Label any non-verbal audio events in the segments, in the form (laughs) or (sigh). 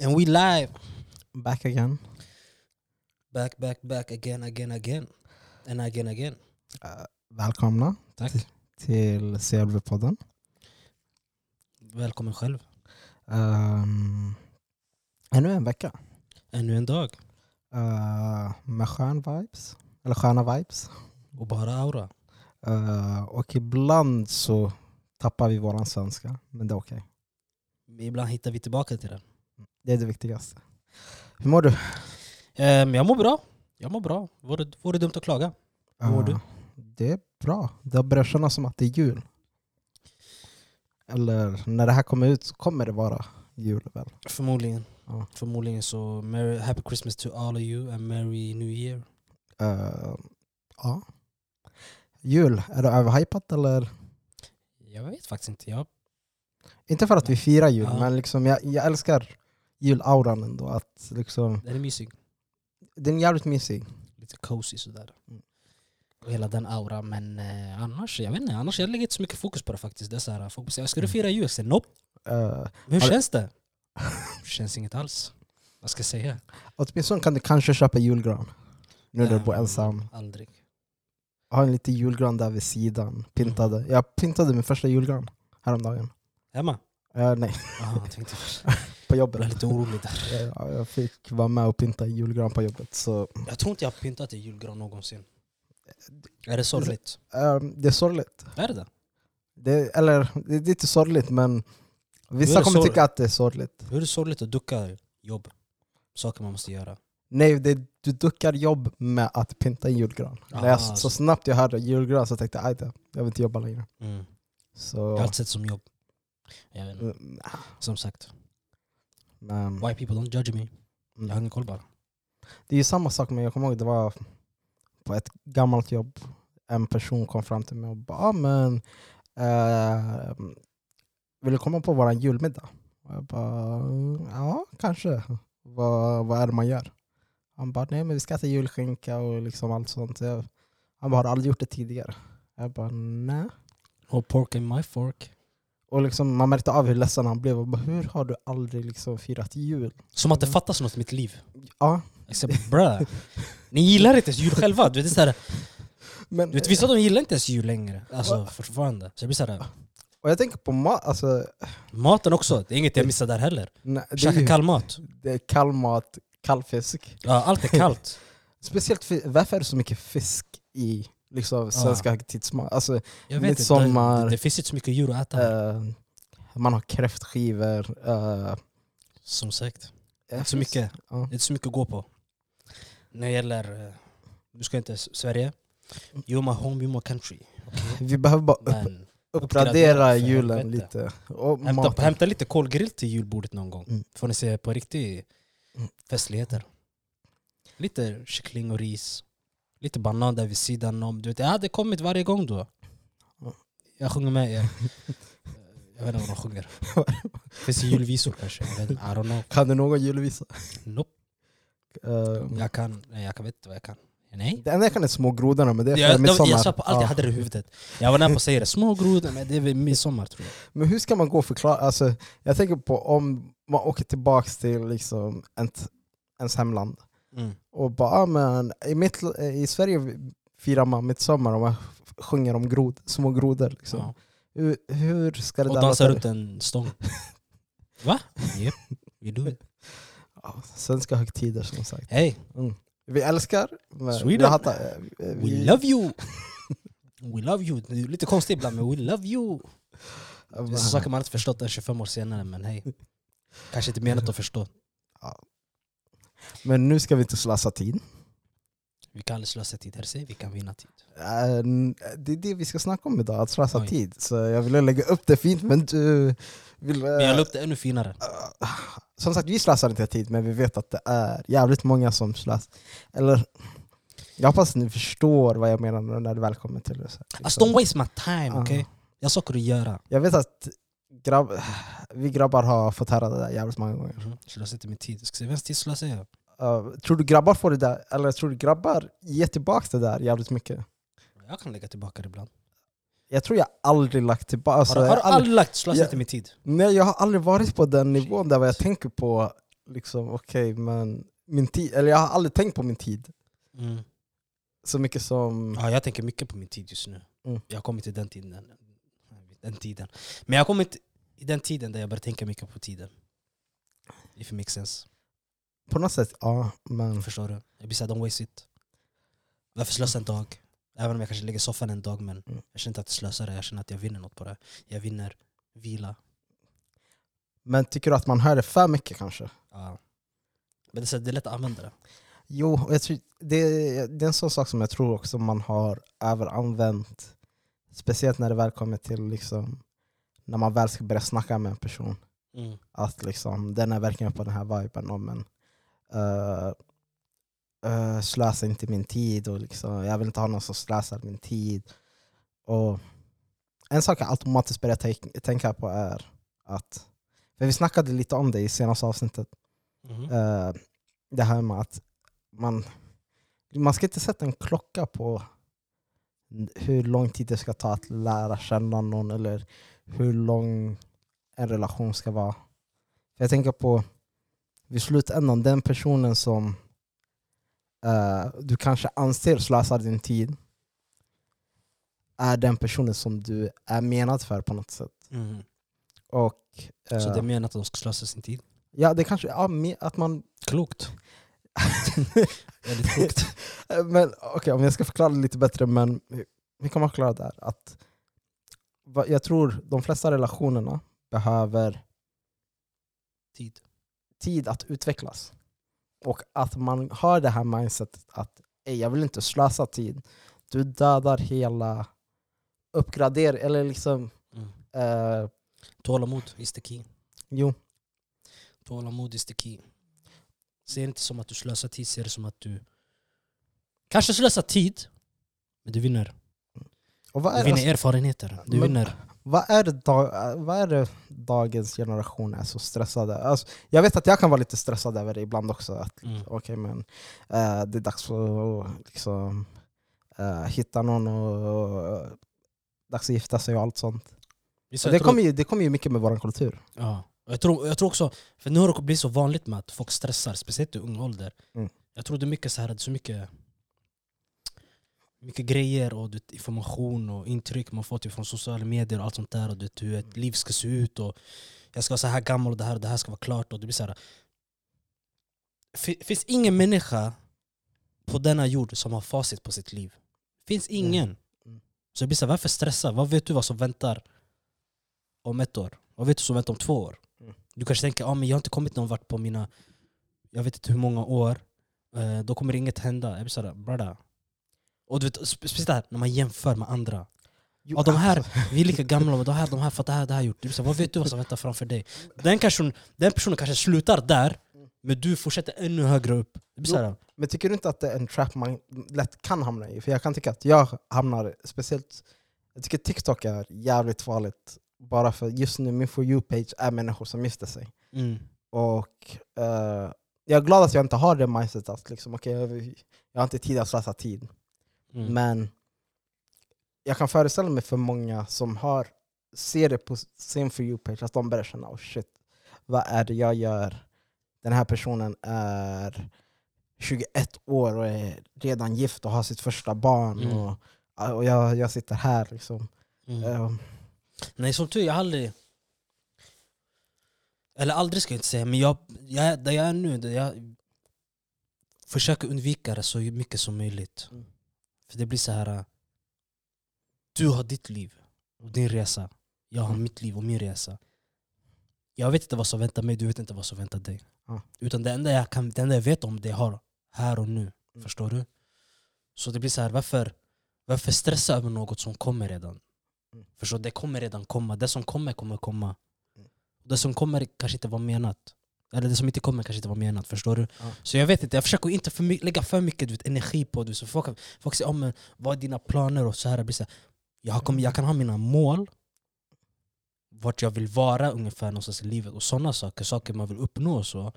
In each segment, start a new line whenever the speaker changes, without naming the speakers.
And we live
Back again.
back, back, back again, again, again. And again, again.
Välkomna
Tack.
till CLV-podden.
Välkommen själv.
Um, ännu en vecka
Ännu en dag.
eh, med skön vibes. Eller sköna vibes.
Och bara aura.
Eh, och ibland så tappar vi våran svenska, men det är okej.
Ibland hittar vi tillbaka till den.
Det är det viktigaste. Hur mår du?
Ehm, jag mår bra. Jag mår bra. Vore, vore dumt att klaga. Hur mår
Eh,
du?
Det är bra. Det har börjat kännas som att det är jul. Eller när det här kommer ut så kommer det vara jul väl?
Förmodligen.
Ja.
Förmodligen så merry, happy Christmas to all of you and merry new year.
Eh, ja. Jul, är det överhypat eller?
Jag vet faktiskt inte. Jag,
Inte för att vi firar jul,
Ja.
men liksom jag, jag älskar julauran ändå. Att liksom,
den är mysig.
den är jävligt mysig.
Lite cozy sådär.
Mm.
Och hela den auran. Men eh, annars, jag vet inte. Annars jag lägger inte så mycket fokus på det faktiskt. Det är så här, folk säger ska du fira jul? Jag säger nope.
Uh,
Hur
Har du-
känns det? Det känns inget alls. Vad ska jag säga?
åtminstone kan du kanske köpa julgran. Nu när du
Nej,
bor ensam.
Aldrig.
Ha en liten julgran där vid sidan. Pintade. Jag pintade min första julgran häromdagen.
Hemma?
Eh, nej,
Jaha, jag tänkte
på
Jag blev
jobbet.
lite orolig där.
(laughs) Ja, jag fick vara med och pinta en julgran på jobbet. Så,
Jag tror inte jag har pyntat en julgran någonsin. Är det sorgligt?
eh, det är sorgligt.
Är det det?
Det, eller, det är lite sorgligt men
Nu är
vissa
det
kommer
sorg.
tycka att det är sorgligt.
Hur är det sorgligt att ducka jobb? Saker man måste göra.
Nej, det, du duckar jobb med att pynta en julgran.
Ah,
När jag,
så-
så snabbt jag hörde julgran så tänkte jag "Aj då, jag vill inte jobba längre.
Mm. Jag
Så,
har alltid sett som jobb. Jag vet inte.
Mm,
Som sagt,
men,
white people don't judge me. Jag har
mm.
ingen koll bara.
Det är ju samma sak, men jag kommer ihåg det var på ett gammalt jobb. En person kom fram till mig och bara ah, men, eh, vill du komma på våran julmiddag? Och jag bara, "Mm, ja kanske. Vad, vad är det man gör? Han bara, nej men vi ska äta julskinka och liksom allt sånt. Jag, han bara, har du aldrig gjort det tidigare? Jag bara, nej.
No pork in my fork.
Och liksom, man märkte av hur ledsen han blev. Och bara, hur har du aldrig liksom firat jul?
Som
Mm.
att det fattas något i mitt liv.
Ja,
Jag säger bruh. Ni gillar inte ens jul själva. Du vet, det är så här,
men,
Du vet vissa de gillar inte ens jul längre, alltså fortfarande. Så jag blir såhär,
och jag tänker på mat. Alltså,
maten också, det är inget jag missar där heller.
nej, det är
Käka
ju-
kall mat,
Det är kall mat, kall fisk.
ja, allt är
(laughs)
kallt.
Speciellt fi- varför är det så mycket fisk i liksom, svenska högtidsmat? Alltså,
Jag
Mitt
vet inte,
sommar-
det, det finns inte så mycket djur att äta. här,
eh, man har kräftskivor. eh,
Som sagt, det är inte så mycket, det
Ja.
är inte så mycket att gå på. När det gäller, eh, nu ska jag inte s- Sverige, you're my home, you're my country.
Vi behöver bara upp,
Men uppgradera
uppgradera
för
julen
helvete.
lite. Och
hämta,
maten.
hämta lite kolgrill till julbordet någon gång,
Mm.
får ni se på riktigt
Mm.
festligheter. Lite kyckling och ris. Lite banan där vid sidan om. Du vet, jag hade kommit varje gång då. Jag sjunger med
(laughs)
er. Jag vet inte vad de sjunger. Finns det julvisor kanske? Jag vet inte, I don't know.
Kan du någon julvisa?
Nope.
Eh,
Jag kan, nej, jag kan vet inte vad jag kan. Nej.
det enda jag kan är små grodorna, men det är
Jag,
för
jag,
midsommar.
jag sa på allt
Ja.
jag hade det i huvudet. Jag var nära på att säga det. Små grodor, men det är väl midsommar tror jag.
Men hur ska man gå och förklara? Alltså, jag tänker på om man åker tillbaka till liksom, ett, ens hemland.
Mm.
och bara, ah, men i, mitt, i Sverige firar man midsommar och man sjunger om grod, små grodor. Liksom.
Ja.
Hur, hur ska det
Och
där
dansar
låta?
runt en stång. (laughs) Va? Yep, we do it.
Ja, svenska högtider som sagt.
Hey,
Vi älskar, men vi,
Sweden.
hatar, eh, vi,
we love you! We love you. Det är lite konstigt ibland, men we love you. Det är så saker man inte förstått än 25 år senare, men hej. Kanske inte menat (laughs) att förstå.
Men nu ska vi inte slösa tid.
Vi kan aldrig slösa tid, här säger vi kan vinna tid.
Eh, Det är det vi ska snacka om idag, att slösa
Oj.
tid. Så jag ville lägga upp det fint, men du vill... eh,
Men jag la upp det ännu finare.
eh, Som sagt, vi slösar inte tid, men vi vet att det är jävligt många som slösar. Eller, jag hoppas att ni förstår vad jag menar när det väl kommer till det. så här, liksom.
Alltså don't waste my time,
Ja.
okej? Jag har saker att göra.
Jag vet att grabb, vi grabbar har fått höra det där jävligt många gånger.
Mm-hmm. Slösa inte min tid. Jag ska se, vems tid slösar jag?
Eh, tror du grabbar får det där, eller tror du grabbar ger tillbaka det där jävligt mycket?
Jag kan lägga tillbaka det ibland.
Jag tror jag aldrig lagt tillbaka... Alltså,
har du,
jag
har
har
du aldrig lagt slösa
Ja.
inte min tid?
Nej, jag har aldrig varit på den nivån där vad jag tänker på liksom okej, men min tid, eller jag har aldrig tänkt på min tid
Mm.
så mycket som...
Ja, jag tänker mycket på min tid just nu.
Mm.
Jag har kommit till den tiden. den tiden. Men jag har kommit i den tiden där jag börjar tänka mycket på tiden. If it makes sense.
På något sätt, ja, men...
Förstår du? Jag blir såhär, don't waste it. Varför slösa en dag? Även om jag kanske ligger i soffan en dag, men
Mm.
jag känner inte att jag slösar det. Jag känner att jag vinner något på det. Jag vinner vila.
Men tycker du att man hör det för mycket kanske?
Ja. Men det är, så här, det är lätt att använda det.
Jo, och jag tror, det, det är en sån sak som jag tror också man har överanvänt. Speciellt när det väl kommer till liksom, när man väl ska börja snacka med en person.
Mm.
Att liksom, den är verkligen på den här viben om en eh, eh, slösa inte min tid och liksom, jag vill inte ha någon som slösar min tid. Och en sak jag automatiskt börjar tänk- tänka på är att, för vi snackade lite om det i senaste avsnittet,
Mhm.
eh, det här med att man, man ska inte sätta en klocka på hur lång tid det ska ta att lära känna någon eller hur lång en relation ska vara. För jag tänker på vid slutändan, den personen som eh, du kanske anser slösar din tid är den personen som du är menad för på något sätt.
Mm.
Och, eh,
Så det är menat att de ska slösa sin tid.
ja, det kanske ja, me- att man
Klokt. (laughs) Väldigt klokt.
Eh, Men okej, om jag ska förklara det lite bättre, men vi kommer att förklara det här. Att, vad- jag tror de flesta relationerna behöver
Tid.
tid att utvecklas. Och att man har det här mindsetet att "Ey, jag vill inte slösa tid. Du dödar hela uppgradering, eller liksom,
Mm.
eh,
Tålamod is the key.
jo,
Tålamod is the key. Se det inte som att du slösar tid, se det som att du kanske slösar tid, men du vinner.
och vad
Du
är,
vinner erfarenheter. Du
Men-
vinner.
Vad är, det dag, vad är det dagens generation är så stressade? Alltså, jag vet att jag kan vara lite stressad över det ibland också. Att,
Mm.
okej, men eh, det är dags för att liksom, eh, hitta någon och, och dags att gifta sig och allt sånt.
Visst,
Och
jag
det,
tror-
kommer ju, det kommer ju mycket med vår kultur.
Ja. Och Jag tror, jag tror också, för nu har det blivit så vanligt med att folk stressar, speciellt i ung ålder.
Mm.
Jag tror det är mycket så här, det är så mycket, mycket grejer och du vet, information och intryck man fått från sociala medier och allt sånt där. Och du vet, hur ett liv ska se ut och jag ska vara så här gammal och det här och det här ska vara klart. Och det blir så här, Fi- finns ingen människa på denna jord som har facit på sitt liv. Finns ingen.
Mm.
Så det blir så här, varför stressa? Vad vet du vad som väntar om ett år? Vad vet du som väntar om två år?
Mm.
Du kanske tänker, ah, men jag har inte kommit någon vart på mina, jag vet inte hur många år. Eh, då kommer inget hända. Jag blir så här, brada. Och du vet, spe- speciellt det här när man jämför med andra.
Jo,
Ja, de här, vi är lika gamla, men de här, de här, för att det här, det här gjort. Du, så, vad vet du vad som väntar framför dig? Den, kanske, den personen kanske slutar där, men du fortsätter ännu högre upp. Det blir så här,
Men tycker du inte att det är en trap man lätt kan hamna i? För jag kan tycka att jag hamnar, speciellt, jag tycker TikTok är jävligt farligt. Bara för just nu, min For You-page är människor som gifter sig.
mm,
Och eh, jag är glad att jag inte har det mindset att liksom, okay, jag, jag har inte tid att slösa tid.
mm,
Men jag kan föreställa mig för många som har, ser det på sin For You-page att de börjar känna oh shit, vad är det jag gör? Den här personen är 21 år och är redan gift och har sitt första barn.
Mm.
Och, och jag, jag sitter här liksom.
mm.
Eh,
Nej, som tur är, jag har aldrig... Eller aldrig ska jag inte säga, men jag, jag, där jag är nu, där jag försöker undvika det så mycket som möjligt.
Mm.
För det blir så här. äh, Du har ditt liv och din resa. Jag har
Mm.
mitt liv och min resa. Jag vet inte vad som väntar mig, du vet inte vad som väntar dig.
Ja.
Utan det enda, jag kan, det enda jag vet om det jag har här och nu.
Mm.
Förstår du? Så det blir så här, varför, varför stressa över något som kommer redan?
Mm.
Förstår du? Det kommer redan komma. Det som kommer kommer komma.
Mm.
Det som kommer kanske inte var menat. Eller det som inte kommer kanske inte var menat. Förstår du?
Ja.
Så jag vet inte, jag försöker inte för mycket, lägga för mycket du vet, energi på det. Så folk, folk säger, oh, men, vad är dina planer? och så här. Det blir så här jag, har kommit, jag kan ha mina mål. Vart jag vill vara ungefär någonstans i livet. Och sådana saker. Saker man vill uppnå och så.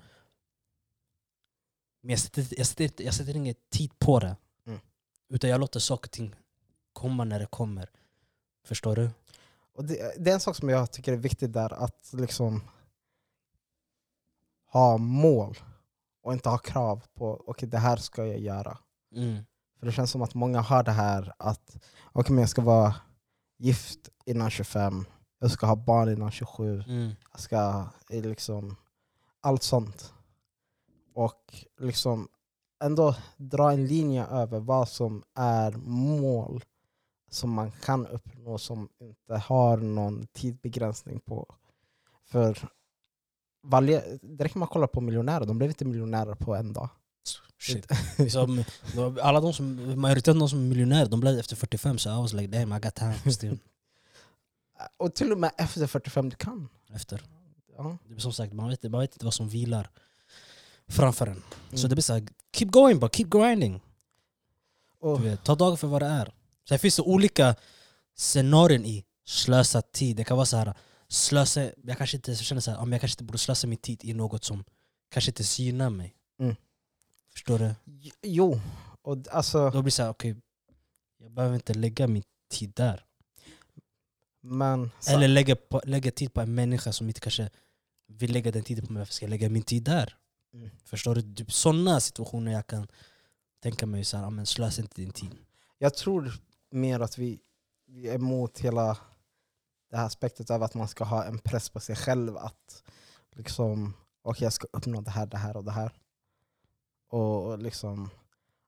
Men jag sätter, jag sätter, inte- jag sätter ingen tid på det.
Mm.
Utan jag låter saker och ting komma när det kommer. Förstår du?
Och det, det är en sak som jag tycker är viktig där, att liksom ha mål och inte ha krav på okej det här ska jag göra.
Mm.
För det känns som att många har det här att okej men jag ska vara gift innan 25, jag ska ha barn innan 27,
Mm.
jag ska eh, liksom allt sånt. Och liksom ändå dra en linje över vad som är mål som man kan uppnå som inte har någon tidbegränsning på. För varje, direkt när man kollar på miljonärer, de blev inte miljonärer på en dag.
(laughs) Shit. Liksom, de- alla de som, majoriteten av de som är miljonärer, de blev efter 45 så I was like damn I got time (laughs) still.
Och till och med efter 45, du kan.
Efter.
Ja.
Det är som sagt, man vet, man vet inte vad som vilar framför en. Så
Mm.
det blir såhär, keep going bara, keep grinding.
Och,
Du vet, ta dagen för vad det är. Sen finns det olika scenarion i slösa tid. Det kan vara så här, slösa, jag kanske inte så känner så här, ja, men jag kanske inte borde slösa min tid i något som kanske inte synar mig.
Mm.
Förstår du?
jo, och d- alltså...
Då blir det så här, okej, jag behöver inte lägga min tid där.
Men, så-
Eller lägga, på, lägga tid på en människa som inte kanske vill lägga den tiden på mig. Varför ska jag lägga min tid där?
Mm.
Förstår du? Typ sådana situationer jag kan tänka mig, så här, ja, men slösa inte din tid.
Jag tror mer att vi, vi är emot hela det här aspektet av att man ska ha en press på sig själv att liksom, okej jag ska uppnå det här, det här och det här. Och liksom,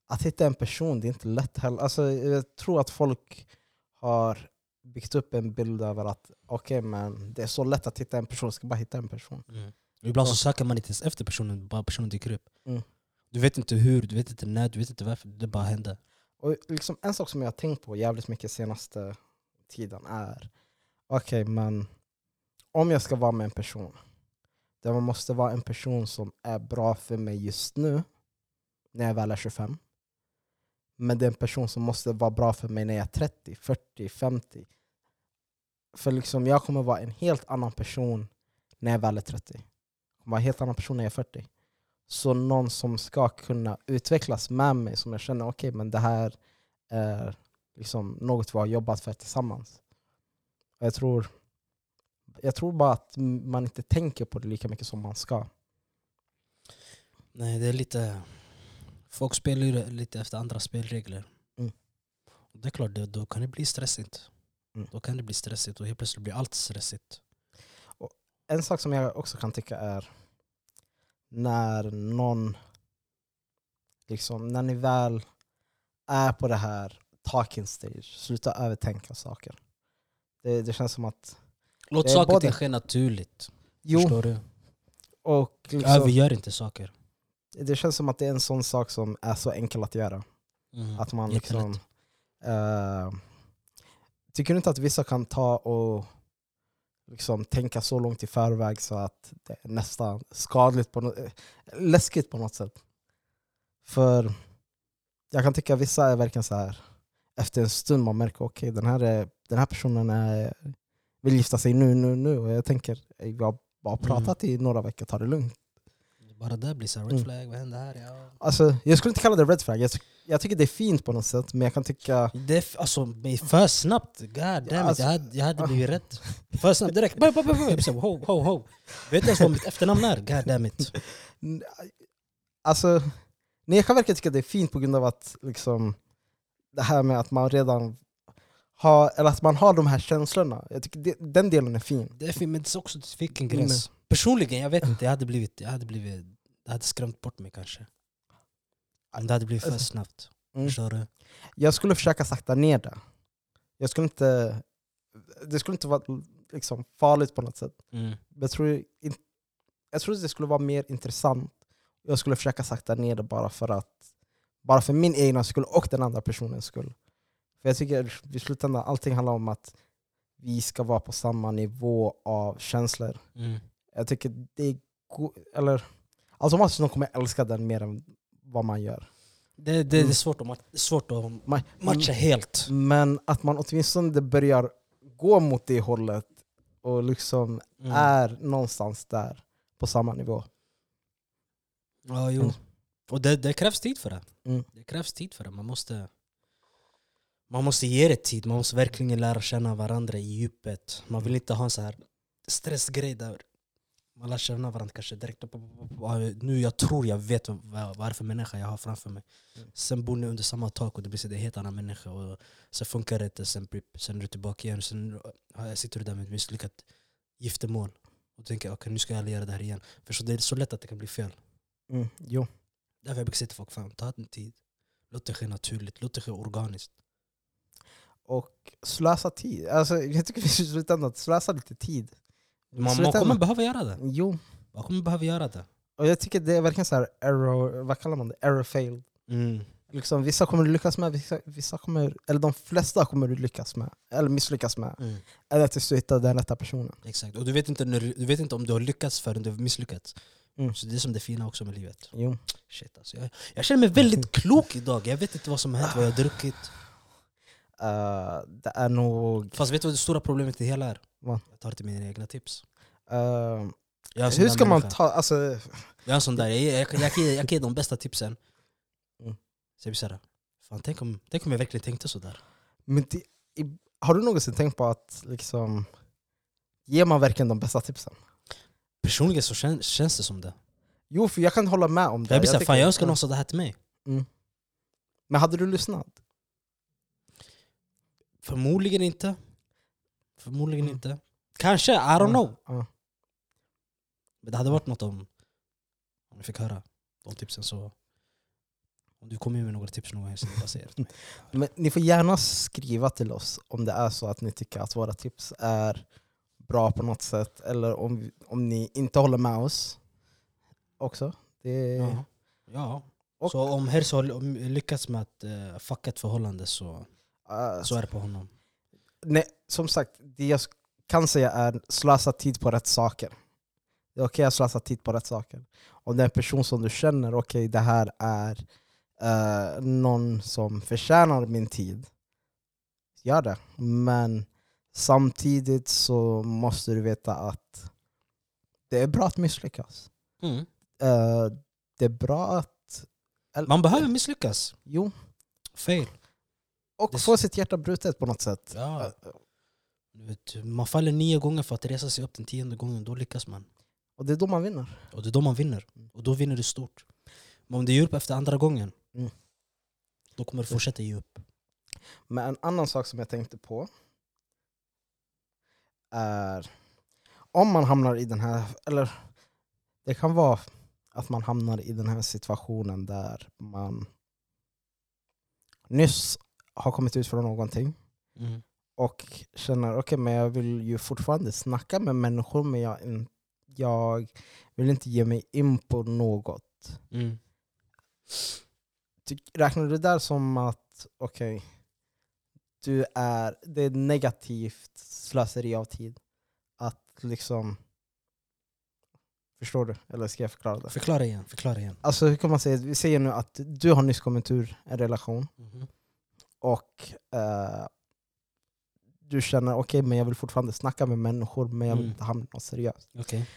att hitta en person, det är inte lätt heller. Alltså, jag tror att folk har byggt upp en bild över att okej men det är så lätt att hitta en person, jag ska bara hitta en person.
Mm. Ibland så
Ja.
söker man inte ens efter personen, bara personen dyker upp.
Mm.
Du vet inte hur, du vet inte när, du vet inte varför. Det bara hände.
Och liksom en sak som jag har tänkt på jävligt mycket senaste tiden är, okej men om jag ska vara med en person, det måste vara en person som är bra för mig just nu, när jag väl är 25. Men det är en person som måste vara bra för mig när jag är 30, 40, 50. För liksom jag kommer vara en helt annan person när jag väl är 30. Jag kommer vara en helt annan person när jag är 40. Så någon som ska kunna utvecklas med mig, som jag känner okej, men det här är liksom något vi har jobbat för tillsammans. Och Jag tror, jag tror bara att m- man inte tänker på det lika mycket som man ska.
Nej, det är lite... Folk spelar ju lite efter andra spelregler.
Mm.
Det är klart, det- då kan det bli stressigt.
Mm.
Då kan det bli stressigt och helt plötsligt blir allt stressigt.
En sak som jag också kan tycka är när någon, liksom, när ni väl är på det här talking stage, sluta övertänka saker. Det, det känns som att,
Låt
Det är
saker och
både-
ting ske naturligt.
jo,
Förstår Alltså, du?
och liksom,
Övergör inte saker.
det känns som att det är en sån sak som är så enkel att göra.
Mm.
Att man
Jättelätt.
liksom... eh, tycker du inte att vissa kan ta och liksom tänka så långt i förväg så att det är nästan skadligt, på no- eh, läskigt på något sätt? För jag kan tycka att vissa är verkligen så här efter en stund man märker okej den, här är- den här personen är, vill gifta sig nu, nu, nu. Och jag tänker, "Ey, vi har bara pratat
Mm.
i några veckor, ta det lugnt.
Bara det blir så här, red
Mm.
flag, vad händer här? Ja.
Alltså, jag skulle inte kalla det red flag, jag, ty- jag tycker det är fint på något sätt men jag kan tycka
Det är f- alltså, men för snabbt. God damn it.
Alltså-
jag, hade, jag hade blivit rädd. För snabbt direkt. Bam, bam, bam, bam. Jag sa, Ho, ho, ho. Vet du ens vad mitt efternamn är? God damn it.
N- Alltså, nej, jag kan verkligen tycka det är fint på grund av att liksom, det här med att man redan har, eller att man har de här känslorna. Jag tycker det, den delen är fin.
Det är fint, men det är också vilken gräns. Personligen, jag vet inte. Jag hade blivit... Jag hade blivit det hade skrämt bort mig kanske. Om det hade blivit för
Alltså-
snabbt.
Mm.
Förstår du?
Jag skulle försöka sakta ner det. Jag skulle inte, det skulle inte vara liksom, farligt på något sätt.
Mm.
Men Jag tror, in- jag tror att det skulle vara mer intressant. Jag skulle försöka sakta ner det bara för att bara för min egna skull och den andra personens skull. För jag tycker i slutändan allting handlar om att vi ska vara på samma nivå av känslor.
Mm.
Jag tycker det är go- eller automatiskt någon kommer älska den mer än vad man gör.
Det, det,
Mm.
det är svårt att, ma- svårt att
Man,
matcha helt.
men att man åtminstone börjar gå mot det hållet och liksom
Mm.
är någonstans där på samma nivå.
Ja, jo.
Mm.
Och det, det krävs tid för det.
Mm.
Det krävs tid för det. Man måste, man måste ge det tid. Man måste verkligen lära känna varandra i djupet. Man vill inte ha en så här stressgrej där Man lär känna varandra kanske direkt. Upp, upp, upp, upp. Nu jag tror jag vet vad, vad det är för människa jag har framför mig.
Mm.
Sen bor ni under samma tak och det blir så det är helt annan människa. Och sen funkar det inte, sen, blir- sen är du tillbaka igen. Sen har jag- sitter du där med ett misslyckat giftermål. Och tänker okej nu ska jag aldrig göra det här igen. För så det är så lätt att det kan bli fel.
Mm, jo.
Därför jag brukar säga till folk, fan ta din tid. Låt det ske naturligt, låt det ske organiskt.
Och slösa tid. Alltså, jag tycker vi (laughs) ska sluta med att slösa lite tid.
Man, man
Slutändan-
kommer behöva göra det.
Jo.
Man kommer behöva göra det.
Och jag tycker det är verkligen så här error, vad kallar man det? Error failed.
Mm.
Liksom, vissa kommer du lyckas med, vissa, vissa kommer, eller de flesta kommer du lyckas med. Eller misslyckas med.
Mm.
Eller tills du hittar den rätta personen.
Exakt, och du vet, inte när, du vet inte om du har lyckats förrän du har misslyckats.
Mm.
Så det är som det fina också med livet.
Jo.
Shit, alltså, jag, jag känner mig (laughs) väldigt klok idag, jag vet inte vad som har hänt, vad jag har druckit.
Eh, det är nog...
Fast vet du vad det stora problemet i det hela är?
Vad?
Jag tar till mina egna tips.
eh,
Jag är en sån
hur
där
ska man
människa.
ta... Alltså,
Jag är en sån där, jag, jag, jag, kan- jag, kan ge- jag kan ge de bästa tipsen.
Mm.
Så jag blir såhär, fan tänk om, tänk om jag verkligen tänkte sådär.
men det, i, har du någonsin tänkt på att liksom... Ger man verkligen de bästa tipsen?
Personligen så kän, känns det som det.
Jo, för jag kan hålla med om det.
Jag blir såhär,
tycker-
fan jag önskar någon sa det här till mig.
Men hade du lyssnat?
Förmodligen inte. Förmodligen
Mm.
inte. Kanske, I don't
Ja,
know.
ja.
Men det hade varit något om, om vi fick höra de tipsen så. Om du kommer med några tips någon gång så bara säger det
(laughs)
till mig.
Men ni får gärna skriva till oss om det är så att ni tycker att våra tips är bra på något sätt, eller om, om ni inte håller med oss också. Det, Äh,
Ja. ja.
Och-
Så om Herz har ly- lyckats med att uh, fucka ett förhållande så,
eh,
så är det på honom.
nej, som sagt, det jag sk- kan säga är slösa tid på rätt saker. Det är okej att slösa tid på rätt saker. Om det är en person som du känner, okej det här är eh, någon som förtjänar min tid, gör det. Men samtidigt så måste du veta att det är bra att misslyckas.
Mm.
Eh, det är bra att... eller-
Man behöver misslyckas.
Jo,
Fail. Det-
och få sitt hjärta brutet på något sätt.
Ja. Du vet, man faller nio gånger för att resa sig upp den tionde gången, då lyckas man.
Och det är då man vinner.
Och det är då man vinner. Och då vinner du stort. Men om du ger upp efter andra gången,
Mm.
då kommer du fortsätta ge upp.
Men en annan sak som jag tänkte på är om man hamnar i den här, eller det kan vara att man hamnar i den här situationen där man nyss har kommit ut från någonting
Mm.
och känner okej men jag vill ju fortfarande snacka med människor men jag, in- jag vill inte ge mig in på något.
Mm.
Tyck- Räknar du det där som att okej, du är, det är negativt slöseri av tid? Att liksom... Förstår du? Eller ska jag förklara det?
Förklara igen, förklara igen.
Alltså hur kan man säga, vi säger nu att du har nyss kommit ur en relation
Mhm.
och eh, du känner okej men jag vill fortfarande snacka med människor men jag vill
Mm.
inte hamna i något seriöst.
Okej.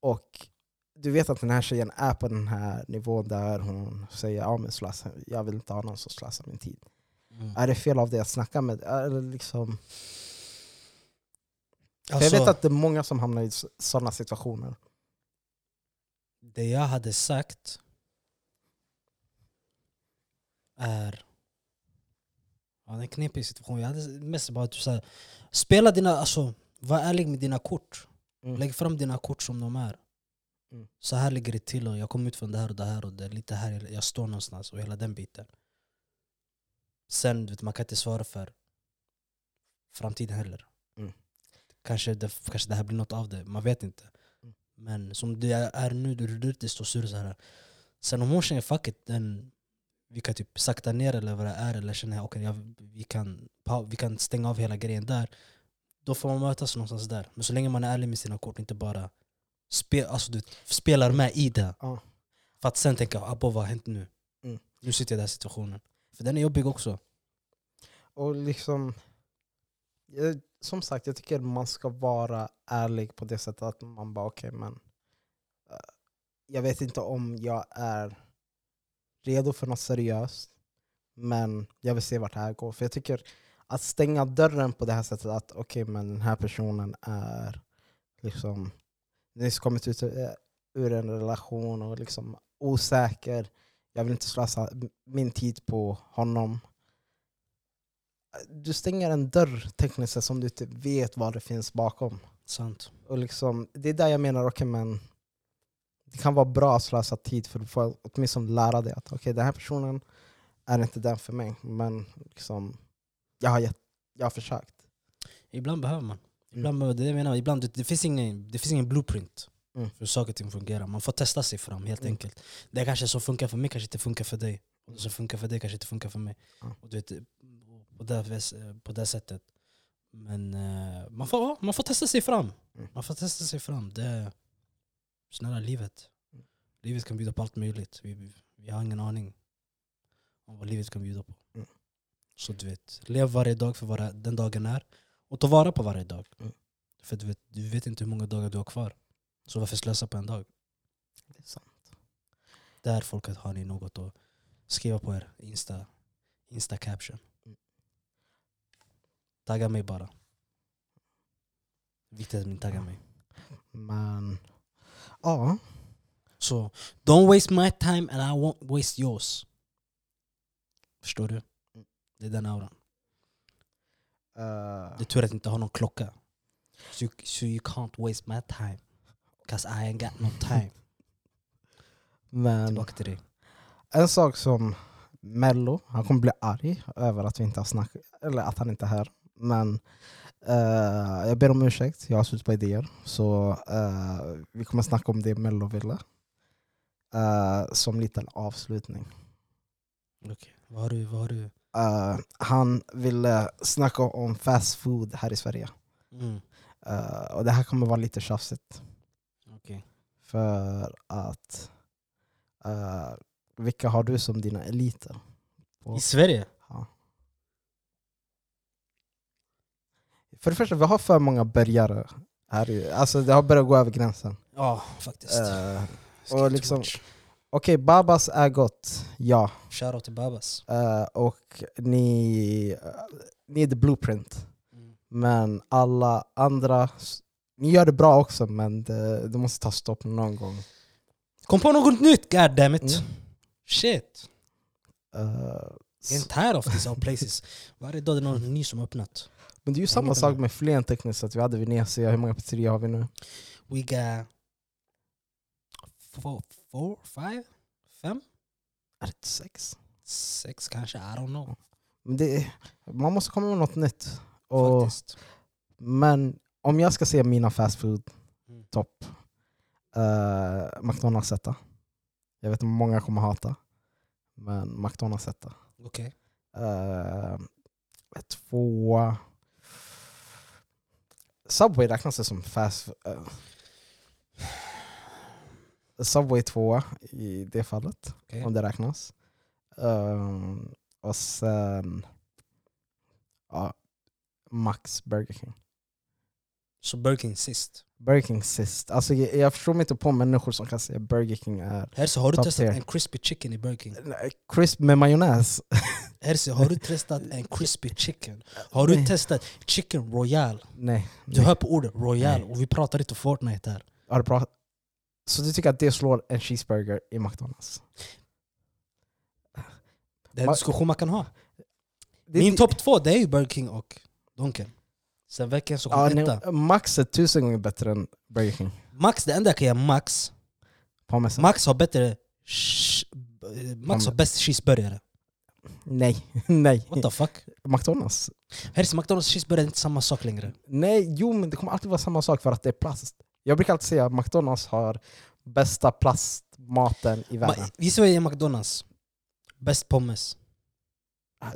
Och du vet att den här tjejen är på den här nivån där hon säger ja, men slösa, jag vill inte ha någon som slösar min tid.
Mm.
Är det fel av dig att snacka med? Är det liksom, för
Alltså,
jag vet att det är många som hamnar i sådana situationer.
det jag hade sagt är... Ja, det är en knepig situation. Jag hade mest bara typ såhär, spela dina, alltså, var ärlig med dina kort.
Mm.
Lägg fram dina kort som de är.
Mm.
Så här ligger det till och jag kom ut från det här och det här och det är lite här jag- jag står någonstans och hela den biten. Sen, du vet, man kan inte svara för framtiden heller.
Mm.
Kanske, det, kanske det här blir något av det, man vet inte.
Mm.
Men som det är nu, du är lite så sur så här. Sen om hon känner fuck it, den, vi kan typ sakta ner eller vad det är eller känner okay, jag, vi, kan, pa- vi kan stänga av hela grejen där. Då får man mötas någonstans där. Men så länge man är ärlig med sina kort, inte bara spe, alltså, du, vet, spelar med i det.
Ja.
För att sen tänka, abow vad har hänt nu?
Mm.
Nu sitter jag i den här situationen. För den är jobbig också.
Och liksom, eh, som sagt, jag tycker man ska vara ärlig på det sättet att man bara okej men eh, jag vet inte om jag är redo för något seriöst men jag vill se vart det här går. För jag tycker att stänga dörren på det här sättet att okej men den här personen är liksom nyss kommit ut ur- ur en relation och liksom osäker. Jag vill inte slösa min tid på honom. Du stänger en dörr tekniskt sett som du inte vet vad det finns bakom.
Sant.
Och liksom, det är där jag menar, okej men det kan vara bra att slösa tid för du får åtminstone lära dig att okej den här personen är inte den för mig. Men liksom, jag, har gett, jag har försökt.
Ibland behöver man.
Mm.
Ibland, behöver- det, är det jag menar, ibland det, det, finns ingen, det finns ingen blueprint
Mm.
för hur saker och ting fungerar. Man får testa sig fram helt
Mm.
enkelt. Det kanske som funkar för mig kanske inte funkar för dig. Och det som funkar för dig kanske inte funkar för mig.
Ja.
Och du vet, på, det, vis- på det sättet. Men eh, man, får, ja, man får testa sig fram.
Mm.
Man får testa sig fram. Det är snälla livet.
Mm.
Livet kan bjuda på allt möjligt. Vi, vi, vi har ingen aning om vad livet kan bjuda på.
Mm.
Så du vet, lev varje dag för vad det- den dagen är. Och ta vara på varje dag.
Mm.
För du vet, du vet inte hur många dagar du har kvar. Så varför slösa på en dag?
Det är sant.
Där folket har ni något att skriva på er Insta, Insta caption.
Mm.
Tagga mig bara. Viktigt att ni taggar mig.
Men ja,
Så don't waste my time and I won't waste yours. Förstår du?
Mm.
Det är den auran.
eh,
Det är tur att jag inte har någon klocka. So you, so you can't waste my time. Cause I ain't got no
(laughs)
time.
men
Tillbaka till dig.
en sak som Mello, han kommer bli arg över att vi inte har snackat, eller att han inte är här. Men eh, jag ber om ursäkt, jag har slut på idéer. Så eh, vi kommer snacka om det Mello ville. eh, som liten avslutning.
Vad har du, vad har du?
Eh, han ville snacka om fast food här i Sverige.
Mm.
Eh, och det här kommer vara lite tjafsigt.
Okej.
För att eh, vilka har du som dina eliter?
I Sverige?
Ja. För det första, vi har för många börjare. Här i, alltså det har börjat gå över gränsen.
Ja, faktiskt.
Eh,
Skate
och liksom-
watch.
Okej, Babas är gott, ja.
Shoutout till Babas.
Eh, och ni, eh, ni är the blueprint.
Mm.
Men alla andra, ni gör det bra också men det, det måste ta stopp någon gång.
Kom på något nytt, goddammit!
Mm.
Shit!
Eh,
Jag är inte här of these all places. (laughs) Varje dag är det någon ny som har öppnat.
Men det är ju samma
inte
sak
med.
med Flen tekniskt sett. Vi hade Venezia, hur många pizzerior har vi nu?
We got... Four, four five? Fem?
Är det inte sex?
Sex kanske? I don't know.
Men det, man måste komma med något nytt. Och,
Faktiskt.
men om jag ska se mina fast food
Mm.
topp, eh, McDonalds etta. Jag vet att många kommer hata, men McDonalds etta.
Okej.
Eh, två... Subway räknas det som fast... eh, Subway tvåa i det fallet,
Okej.
om det räknas. Ehm, och sen... Ja, Max Burger King.
Så Burger King sist.
Burger King sist. Alltså, jag, jag förstår mig inte på människor som kan säga Burger King är...
Herse, har du
Top
testat
tier.
en crispy chicken i Burger King?
Nej, Crisp med majonnäs.
Herse,
(laughs)
har du testat en crispy chicken? Har du
Nej.
testat chicken royal?
Nej.
Du
nej.
hör på ordet royal
Nej.
och vi pratar inte Fortnite här.
Har du pratat? Så du tycker att det slår en cheeseburger i McDonalds?
Det är en
Ma-
diskussion man kan ha.
Det är
Min
ty-
topp två det är ju Burger King och Donken. Sen veckan så kom
Ja,
etta.
nej, Max är tusen gånger bättre än Burger King.
Max, det enda jag kan ge Max,
Parmesan.
Max har bättre... sh- eh, Max har bäst cheeseburgare.
nej, (laughs) nej.
What the fuck?
McDonalds.
Herres McDonalds cheeseburgare är inte samma sak längre.
Nej, jo men det kommer alltid vara samma sak för att det är plast. Jag brukar alltid säga att McDonalds har bästa plastmaten i
Ma-
världen.
Gissa vad jag ger McDonalds? Bäst pommes.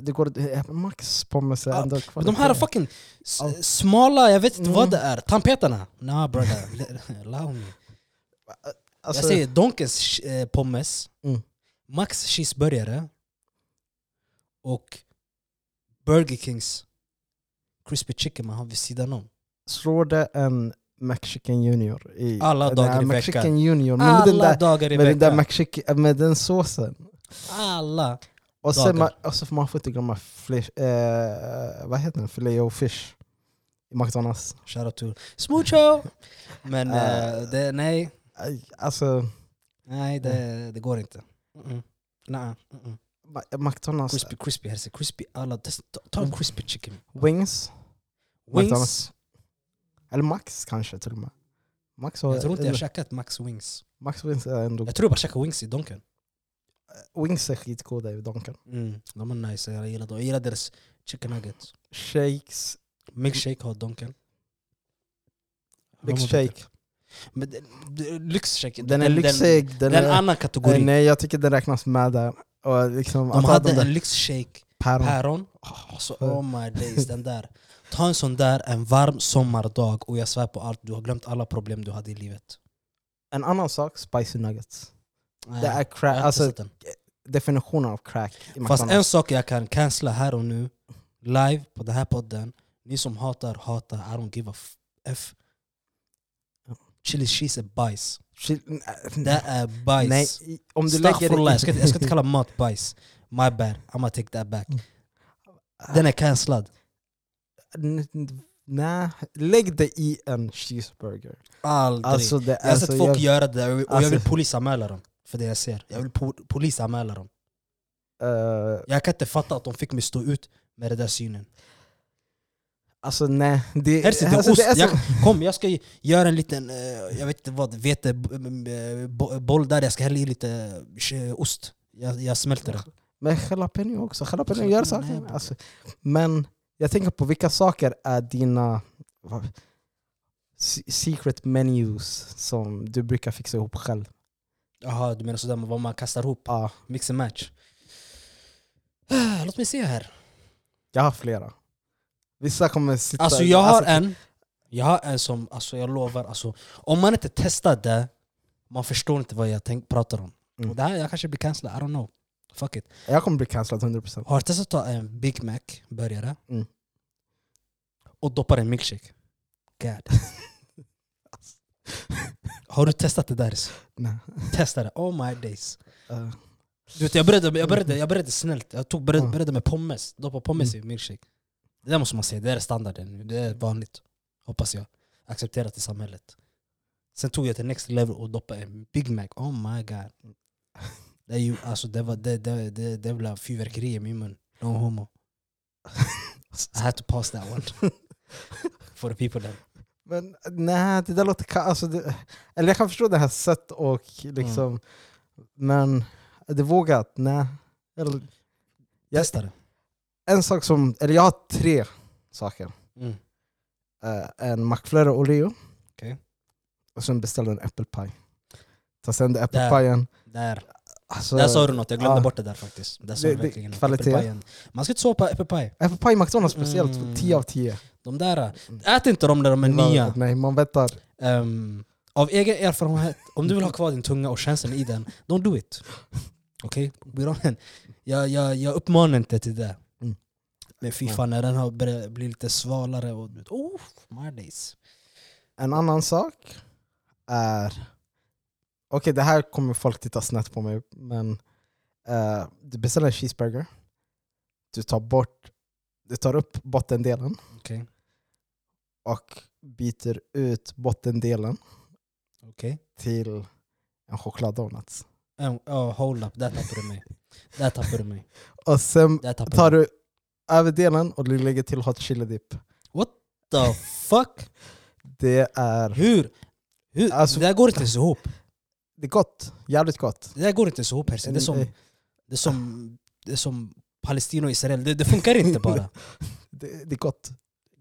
Det går, eh, Max pommes är
Ja,
ändå
Men
kvar.
de här har fucking s-
Ja.
smala, jag vet inte
Mm.
vad det är. Tandpetarna? Nah brother, L- allow me.
Alltså,
jag säger Donkens eh, pommes,
Mm.
Max cheeseburgare och Burger Kings crispy chicken man har vid sidan om.
Slår det en McChicken Junior? I,
Alla
den
dagar
här
i veckan.
McChicken Junior, men med den
Alla
där,
dagar i
med den, där
veckan.
McChicken, med den såsen.
Alla.
Och sen
Dagar.
man, och så får man får inte glömma flish, eh, vad heter den? filé och fish i McDonalds.
Shoutout to Smoocho! Men eh, det, nej,
Aj, Alltså,
nej det, det går inte. Mm. Mm-mm. Nej. Mm-mm.
Ma- McDonalds
Crispy, crispy, hälsa. Crispy alla. Ta- Ta en crispy chicken.
wings,
Wings.
McDonald's. eller Max kanske till och med. Max, har,
Jag tror inte jag har käkat Max Wings.
Max wings är ändå...
Jag tror jag bara käkade Wings i Donken.
Wings är skitgoda i Donken.
Mm. De är nice, jag gillar dem. Jag gillar deras chicken nuggets.
Shakes,
Milkshake har Donken.
Lyxshake.
Men det- det- Lyxshake.
Den är lyxig. Den,
Det är en
är,
annan kategori.
Eh, nej, jag tycker den räknas med där. Och liksom,
de
att ha den
hade
där
en lyxshake
päron.
päron. Alltså, oh my days, den där. Ta en sån där en varm sommardag och jag svär på allt, du har glömt alla problem du hade i livet.
En annan sak, spicy nuggets.
Nej,
Det är
jag har
crack,
inte
alltså
sett den.
definitionen av crack i
Fast en
McDonalds.
sak jag kan cancella här och nu, live på den här podden. Ni som hatar, hatar. I don't give a f. f. Chili cheese är bajs.
Chil-
Det är bajs.
Nej, i- om du lägger...
Astaghfirullah, jag ska, inte- jag ska inte kalla mat bajs. My bad, I'ma take that back.
Mm.
Den är cancellad.
(laughs) N- n- Nej, lägg det i en cheeseburger.
Aldrig.
Alltså det
Jag har
är
sett
så...
folk
jag-
göra det där och jag
Alltså-
vill polisanmäla dem för det jag ser. Jag vill po polisanmäla dem.
eh,
Jag kan inte fatta att de fick mig stå ut med den där synen.
Alltså nej. Det,
Här sitter
alltså,
ost.
det är så-
Jag, kom, jag ska ju göra en liten, eh, jag vet inte vad, vete, b- b- bo- boll där. Jag ska hälla i lite eh, ost. Jag, jag smälter den.
Men jalapeno också. Jalapeno
Jalapeno,
gör
nej,
saker.
bror.
Alltså, men jag tänker på vilka saker är dina vad- se- secret menus som du brukar fixa ihop själv?
Jaha, du menar sådär med vad man kastar ihop?
Ja,
Mix and match. Ah, Låt mig se här.
jag har flera. Vissa kommer sitta...
Alltså jag har en, jag har en som, alltså jag lovar, alltså, om man inte testar det, man förstår inte vad jag tänk, pratar om.
Mm.
Och det här, jag kanske blir cancellad, I don't know. Fuck it.
Jag kommer bli cancellad 100%.
Har testat att ta en Big Mac, burgare,
Mm.
och doppar en milkshake. God. har du testat det där?
Nej.
Testa det, oh my days.
Eh,
Du vet, jag, började, jag,
Mm.
började, jag började snällt, jag tog, började,
Ja.
började med pommes, doppa
Mm.
pommes i milkshake. Det där måste man säga, det där är standarden, det är vanligt. Hoppas jag. Accepterat i samhället. Sen tog jag till next level och doppade en Big Mac, oh my god. Det, är ju, alltså, det, var, det, det, det, det blev fyrverkeri i min mun. No homo. I had to pass that one.
(laughs)
For the people that...
Men nej, det där låter... ka- Alltså, det, eller jag kan förstå det här sätt och liksom...
Mm.
Men är det vågat? Nej. Eller, Jag-
Testa det.
en sak som... Eller jag har tre saker.
Mm.
eh, en McFlurry Oreo.
Okej.
Och sen beställde en apple pie. Ta sen
Där.
äppelpajen.
Där.
Alltså,
där sa du något, jag glömde
ja.
bort det där faktiskt. Där sa
Det-
du
det-
verkligen något.
kvalitet.
Äppelpajen. Man ska inte såpa apple pie.
apple pie i McDonalds speciellt,
Mm.
10 av 10.
De där, ät inte dem när de är nya.
Nej, man väntar.
Ehm, av egen erfarenhet, om du vill ha kvar din tunga och känslan i den, don't do it. Okej? We don't- Jag, jag, jag uppmanar inte till det.
Mm.
Men fy
Ja.
fan, när den har börjat bli lite svalare och... Oh, my days.
En annan sak är... Okej, det här kommer folk titta snett på mig, men eh, du beställer en cheeseburger. Du tar bort... Du tar upp bottendelen
Okej.
och byter ut bottendelen
Okej.
till en chokladdonut.
Okay. Oh, hold up, där tappade du mig. Där tappade du mig.
Och sen
Där tappade
tar
du
du överdelen och du lägger till hot chili dip.
The fuck?
Det är,
Hur? Hur?
Alltså-
det där går inte ens ihop.
det är gott, jävligt gott.
Det där går inte ens ihop. Percy. Det är
Eh,
som, det är som, det är som Palestina och Israel. Det, det funkar inte
(laughs)
bara.
Det, det är gott.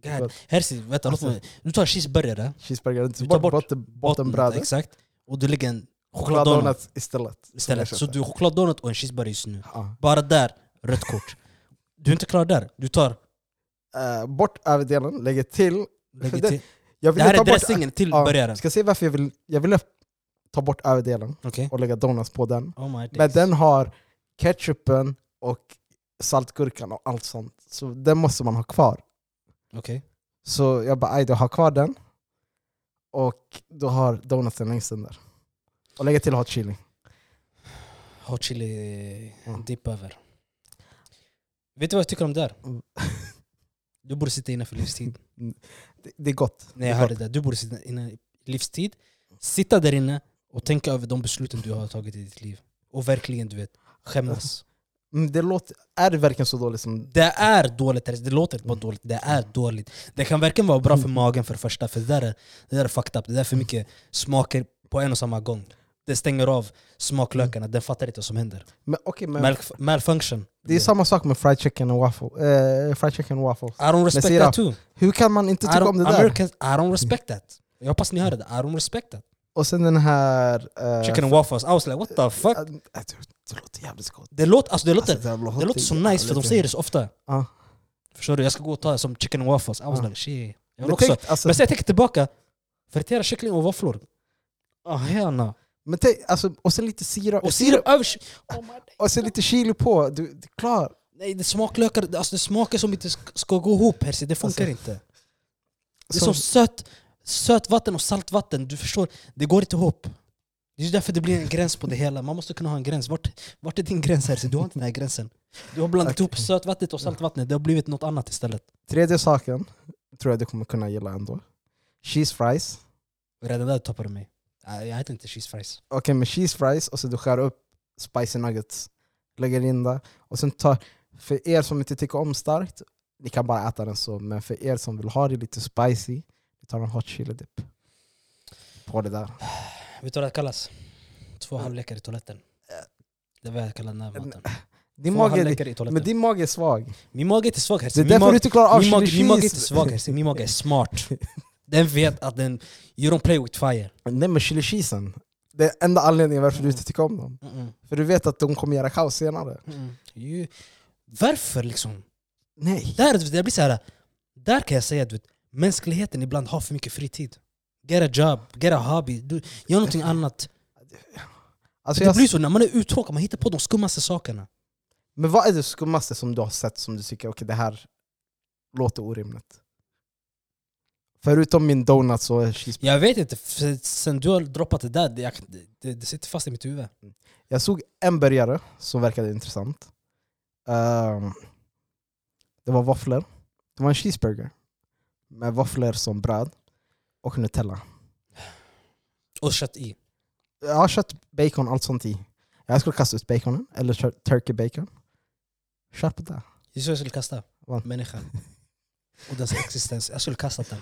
God. Hersi, vänta,
Alltså-
låt mig. Du tar cheeseburgare,
Cheeseburgare, du
Du
tar
tar
bort,
bort
botten, bottenbrödet.
exakt, och du lägger en chokladdonut
Chokladdonut istället.
istället.
Som
Så
jag köper.
du har chokladdonut och en cheeseburgare just nu.
Ja.
Bara där, rött kort. Du är inte klar där. Du tar,
Eh, bort överdelen, lägger till.
lägger
Det-
till.
Jag
Det här
ta
är
bort-
dressingen till
Ja,
burgaren.
Ska se varför jag vill. Jag ville ta bort överdelen
Okej.
och lägga donuts på den.
Oh my days.
Men den har ketchupen och saltgurkan och allt sånt. Så den måste man ha kvar.
Okej.
Så jag bara, aj då, ha kvar den. Och då har donuten längst under. Och lägger till hot chili.
Hot chili
Mm. Mm.
dip över. Vet du vad jag tycker om det där? Du borde sitta inne för livstid.
Det, det är gott.
När jag
Det är
hörde
gott.
det, du borde sitta inne i livstid. Sitta där inne och tänka över de besluten du har tagit i ditt liv. Och verkligen, du vet, skämmas.
Mm, det låter, är det verkligen så dåligt som...
Det är dåligt, alltså, det låter inte bara dåligt, det är dåligt. Det kan verkligen vara bra för magen för det första, för det där är, det där är fucked up. Det där är för mycket smaker på en och samma gång. Det stänger av smaklökarna, den fattar inte vad som händer.
Men, okej, men
Malf- malfunction.
Det är samma sak med fried chicken och waffle. Eh, fried chicken och waffles.
I don't respect
sirap.
that too.
Hur kan man inte
I
tycka
don't-
om det där?
Americans, I don't respect that. Jag hoppas ni hörde det, I don't respect that.
Och sen den här... eh,
Chicken and waffles, I was like what the fuck?
eh, Det låter jävligt gott.
Det låter, alltså det låter,
Alltså,
det låter så nice för de säger det så ofta.
Ja.
Förstår du? Jag ska gå och ta som chicken and waffles. I was
Ja.
like shit. Jag vill
Men
också
tänk, alltså,
Men sen jag tänker tillbaka, fritera kyckling och våfflor. Ah, gärna.
men tänk, alltså, och sen lite sirap.
Och sirap över... ky- Oh my
Och sen lite chili på. Du, det är klart.
Nej, det smaklökar, det- alltså det smakar som inte sk- ska gå ihop Percy, det funkar
Alltså,
inte. Det är som sött, sött vatten och saltvatten, du förstår, det går inte ihop. Det är ju därför det blir en gräns på det hela, man måste kunna ha en gräns. Vart, vart är din gräns Percy? Du har inte den här gränsen. Du har blandat
Okej.
ihop sötvattnet och saltvattnet, det har blivit något annat istället.
Tredje saken tror jag du kommer kunna gilla ändå. Cheese fries.
Redan där tappade du mig. Nej, Jag äter inte cheese fries.
Okej, med cheese fries och så du skär upp spicy nuggets. Lägger in det. Och sen tar... För er som inte tycker om starkt, ni kan bara äta den så. Men för er som vill ha det lite spicy, ni tar en hot chili dip. På det där.
Vet du vad det kallas? Två halvlekar i toaletten. Det var vad jag kallar den här maten.
Din
Två
mage,
halvlekar i toaletten.
men din mage är svag.
Min mage är inte svag här.
Det är
Min
därför
mag-
du inte klarar av
min,
chili
mage, min mage är inte
cheese.
svag här. Min mage är (laughs) smart. Den vet att den... You don't play with fire.
Nej men chili cheesen. Det är enda anledningen varför du inte tycker om dem.
Mm-mm.
För du vet att de kommer göra kaos senare.
Mm-mm. You, varför liksom?
Nej.
Där, det blir så här. Där kan jag säga att du vet, mänskligheten ibland har för mycket fritid. Get a job, get a hobby, du, gör någonting annat.
Alltså
Det
jag,
blir så när man är uttråkad, man hittar på de skummaste sakerna.
men vad är det skummaste som du har sett som du tycker okej det här låter orimligt? Förutom min donuts och cheese.
Jag vet inte, för sen du har droppat det där, det, jag, det, det sitter fast i mitt huvud.
Jag såg en burgare som verkade intressant. Ehm, det var våfflor. Det var en cheeseburger. Med våfflor som bröd. Och Nutella.
Och kött i.
Jag har kött, bacon, allt sånt i. Jag skulle kasta ut baconen, eller tur- turkey bacon. Kör på det.
Det är så jag skulle kasta
Va?
människan. Och dess existens. Jag skulle kastat den.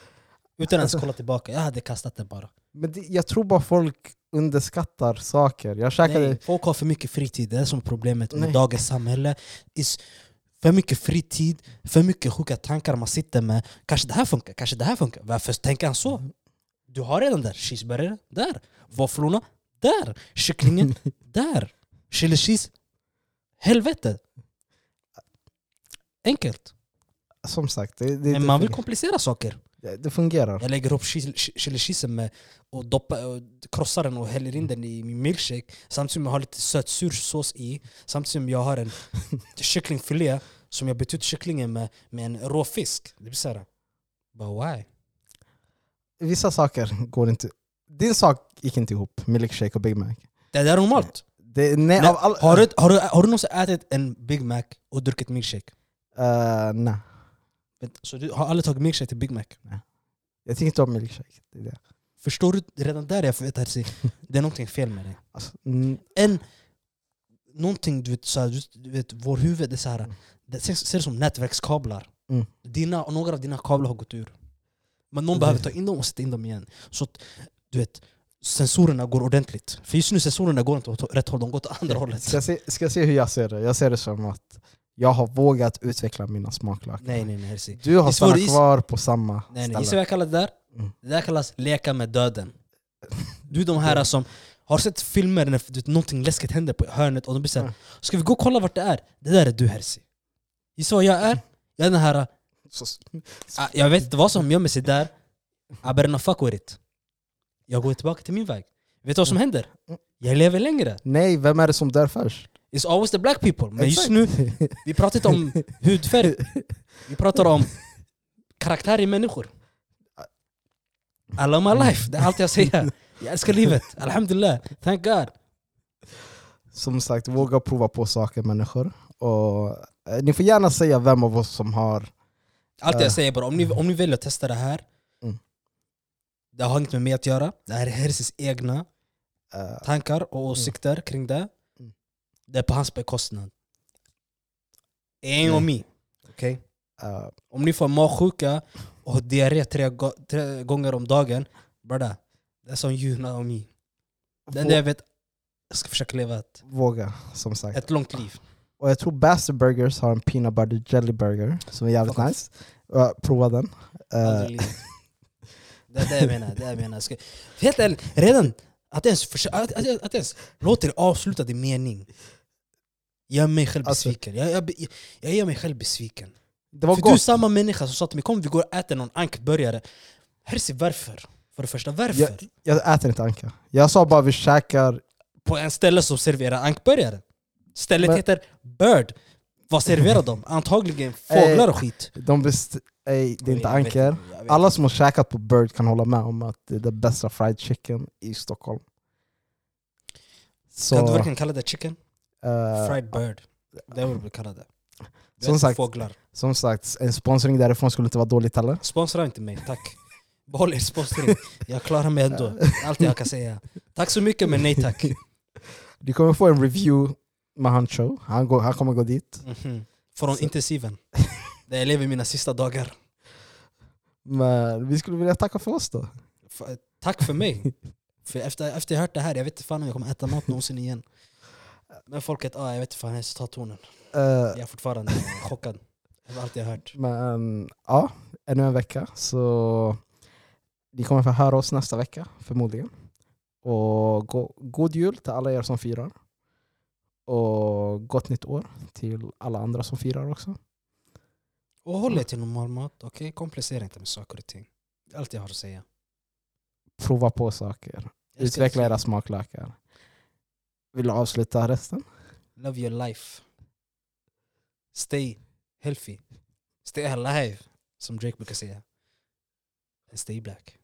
Utan att ens kolla tillbaka. Jag hade kastat den bara.
Men det, jag tror bara folk underskattar saker. Jag käkade...
Nej, folk har för mycket fritid. Det är som är problemet med
Nej.
dagens samhälle. Is för mycket fritid, för mycket sjuka tankar man sitter med. Kanske det här funkar, kanske det här funkar. Varför tänker han så?
Mm.
Du har redan där. Cheeseburgare, där. Våfflorna, där.
(laughs)
Kycklingen, där. Chili cheese, helvete. Enkelt.
Som sagt, det, det,
Men
det,
man vill
fungerar.
komplicera saker.
Det- det fungerar.
Jag lägger ihop chil- chi- chili cheesen med och doppar, och krossar den och häller in den i min milkshake samtidigt som jag har lite sötsur sås i samtidigt som jag har
(laughs)
en kycklingfilé som jag bytt ut kycklingen med, med en rå fisk. Det blir såhär, but why?
Vissa saker går inte... Din sak gick inte ihop, milkshake och Big Mac.
Det där är normalt.
Det, nej,
Nej,
av all,
Har, du, har, du, har du någonsin ätit en Big Mac och druckit milkshake?
Eh, nej,
Vänta, Så du har aldrig tagit milkshake till Big Mac?
jag tycker inte om milkshake. Det är det.
Förstår du? Redan där jag vet att det är någonting fel med dig.
Alltså, mm,
en någonting du vet, så här, du- du vet vår huvud är så här, det ser, ser ut som nätverkskablar.
Mm.
Dina, och några av dina kablar har gått ur. Men någon
Det-
behöver ta in dem och sätta in dem igen. Så att, du vet, sensorerna går ordentligt. För just nu sensorerna går inte åt rätt håll, de går åt andra hållet.
ska, jag se, ska jag se hur jag ser det? Jag ser det som att jag har vågat utveckla mina smaklökar.
Nej nej nej. Herzi.
Du har
Det är svår
stannat
is-
kvar på samma
nej, nej. Gissa
ställe.
vad jag kallar det där?
Mm.
Det där kallas leka med döden. Du är de här som har sett filmer när du vet, någonting läskigt händer på hörnet och de blir såhär
Mm.
Ska vi gå och kolla vart det är? Det där är du Herzi. Gissa vad jag är? Jag är den här
Så-
Ah, Jag vet inte vad som gömmer sig där. Aberna fuck with it. Jag går tillbaka till min väg. Vet du vad som
Mm.
händer? Jag lever längre.
Nej, vem är det som dör först? (laughs)
It's always the black people. Men just
Exakt.
nu, vi pratar inte om hudfärg. Vi pratar om karaktär i människor. Alla my life, det är allt jag säger. Jag älskar livet. Alhamdulillah. Thank God.
Som sagt, våga prova på saker människor. Och, eh, ni får gärna säga vem av oss som har
Allt
Ja.
jag säger bara, om ni, om ni väljer att testa det här,
Mm.
det har inget med mig att göra. Det här är Herses egna
Eh,
tankar och åsikter kring det.
Mm.
Det är på hans bekostnad. En och
Nej.
mig. Okej?
eh,
Om ni får magsjuka och har diarré tre, go- tre gånger om dagen, brada, det är som Juna och mig. Det enda jag
vå-
vet, jag ska försöka leva ett,
Våga, som sagt.
ett långt liv.
Och jag tror Bastard Burgers har en peanut butter jelly burger som är jävligt
Fuck off.
nice. Uh, prova den. Eh,
Aldrig i livet. Det är det jag menar. Det är det jag menar. Jag Ska, helt ärligt, redan att jag ens, försö- att, att, jag- att jag ens låter dig avsluta din mening. Jag gör mig själv
Alltså-
besviken. Jag, jag, jag, jag gör mig själv besviken.
det var
För du är
gott.
samma människa som sa till mig kom vi går och äter någon ankburgare. Herse, varför? För det första, varför?
Jag, jag äter inte anka. Jag sa bara vi käkar...
på en ställe som serverar ankburgare. Stället
Men-
heter Bird. Vad serverar de? Antagligen fåglar och skit.
De best, ej, det är inte
Jag vet
anker.
jag vet
Alla
inte.
som har käkat på Bird kan hålla med om att det är det bästa fried chicken i Stockholm. Så,
Kan du verkligen kalla det chicken?
eh,
Fried bird. Det borde vi kalla det. Vi
Som
äter
sagt-
Fåglar.
som sagt, en sponsring därifrån skulle inte vara dåligt heller.
Sponsra inte mig, tack. (laughs) Behåll er sponsring. Jag klarar mig
(laughs)
ändå. Allt jag kan säga. Tack så mycket, men nej tack.
Du kommer få en review med han show. Han, går, han kommer gå dit.
Mhm. Från
Så-
intensiven. Där jag lever mina sista dagar.
Men vi skulle vilja tacka för oss då.
F- Tack för mig. För efter, efter jag hört det här, jag vet inte fan om jag kommer äta mat någonsin igen. Men folket, ah, jag vet inte fan, jag ska ta tonen.
Eh,
Jag är fortfarande chockad över allt jag hört.
Men ja, ännu en vecka. Så ni kommer få höra oss nästa vecka förmodligen. Och go- god jul till alla er som firar. Och gott nytt år till alla andra som firar också.
Och håll er till normal mat, okej? Komplicera inte med saker och ting. Det är Allt jag har att säga.
Prova på saker.
Jag älskar
Utveckla
ditt
era smaklökar. Vill du avsluta resten?
liv. Love your life. Stay healthy. Stay alive, som Drake brukar säga. And stay black.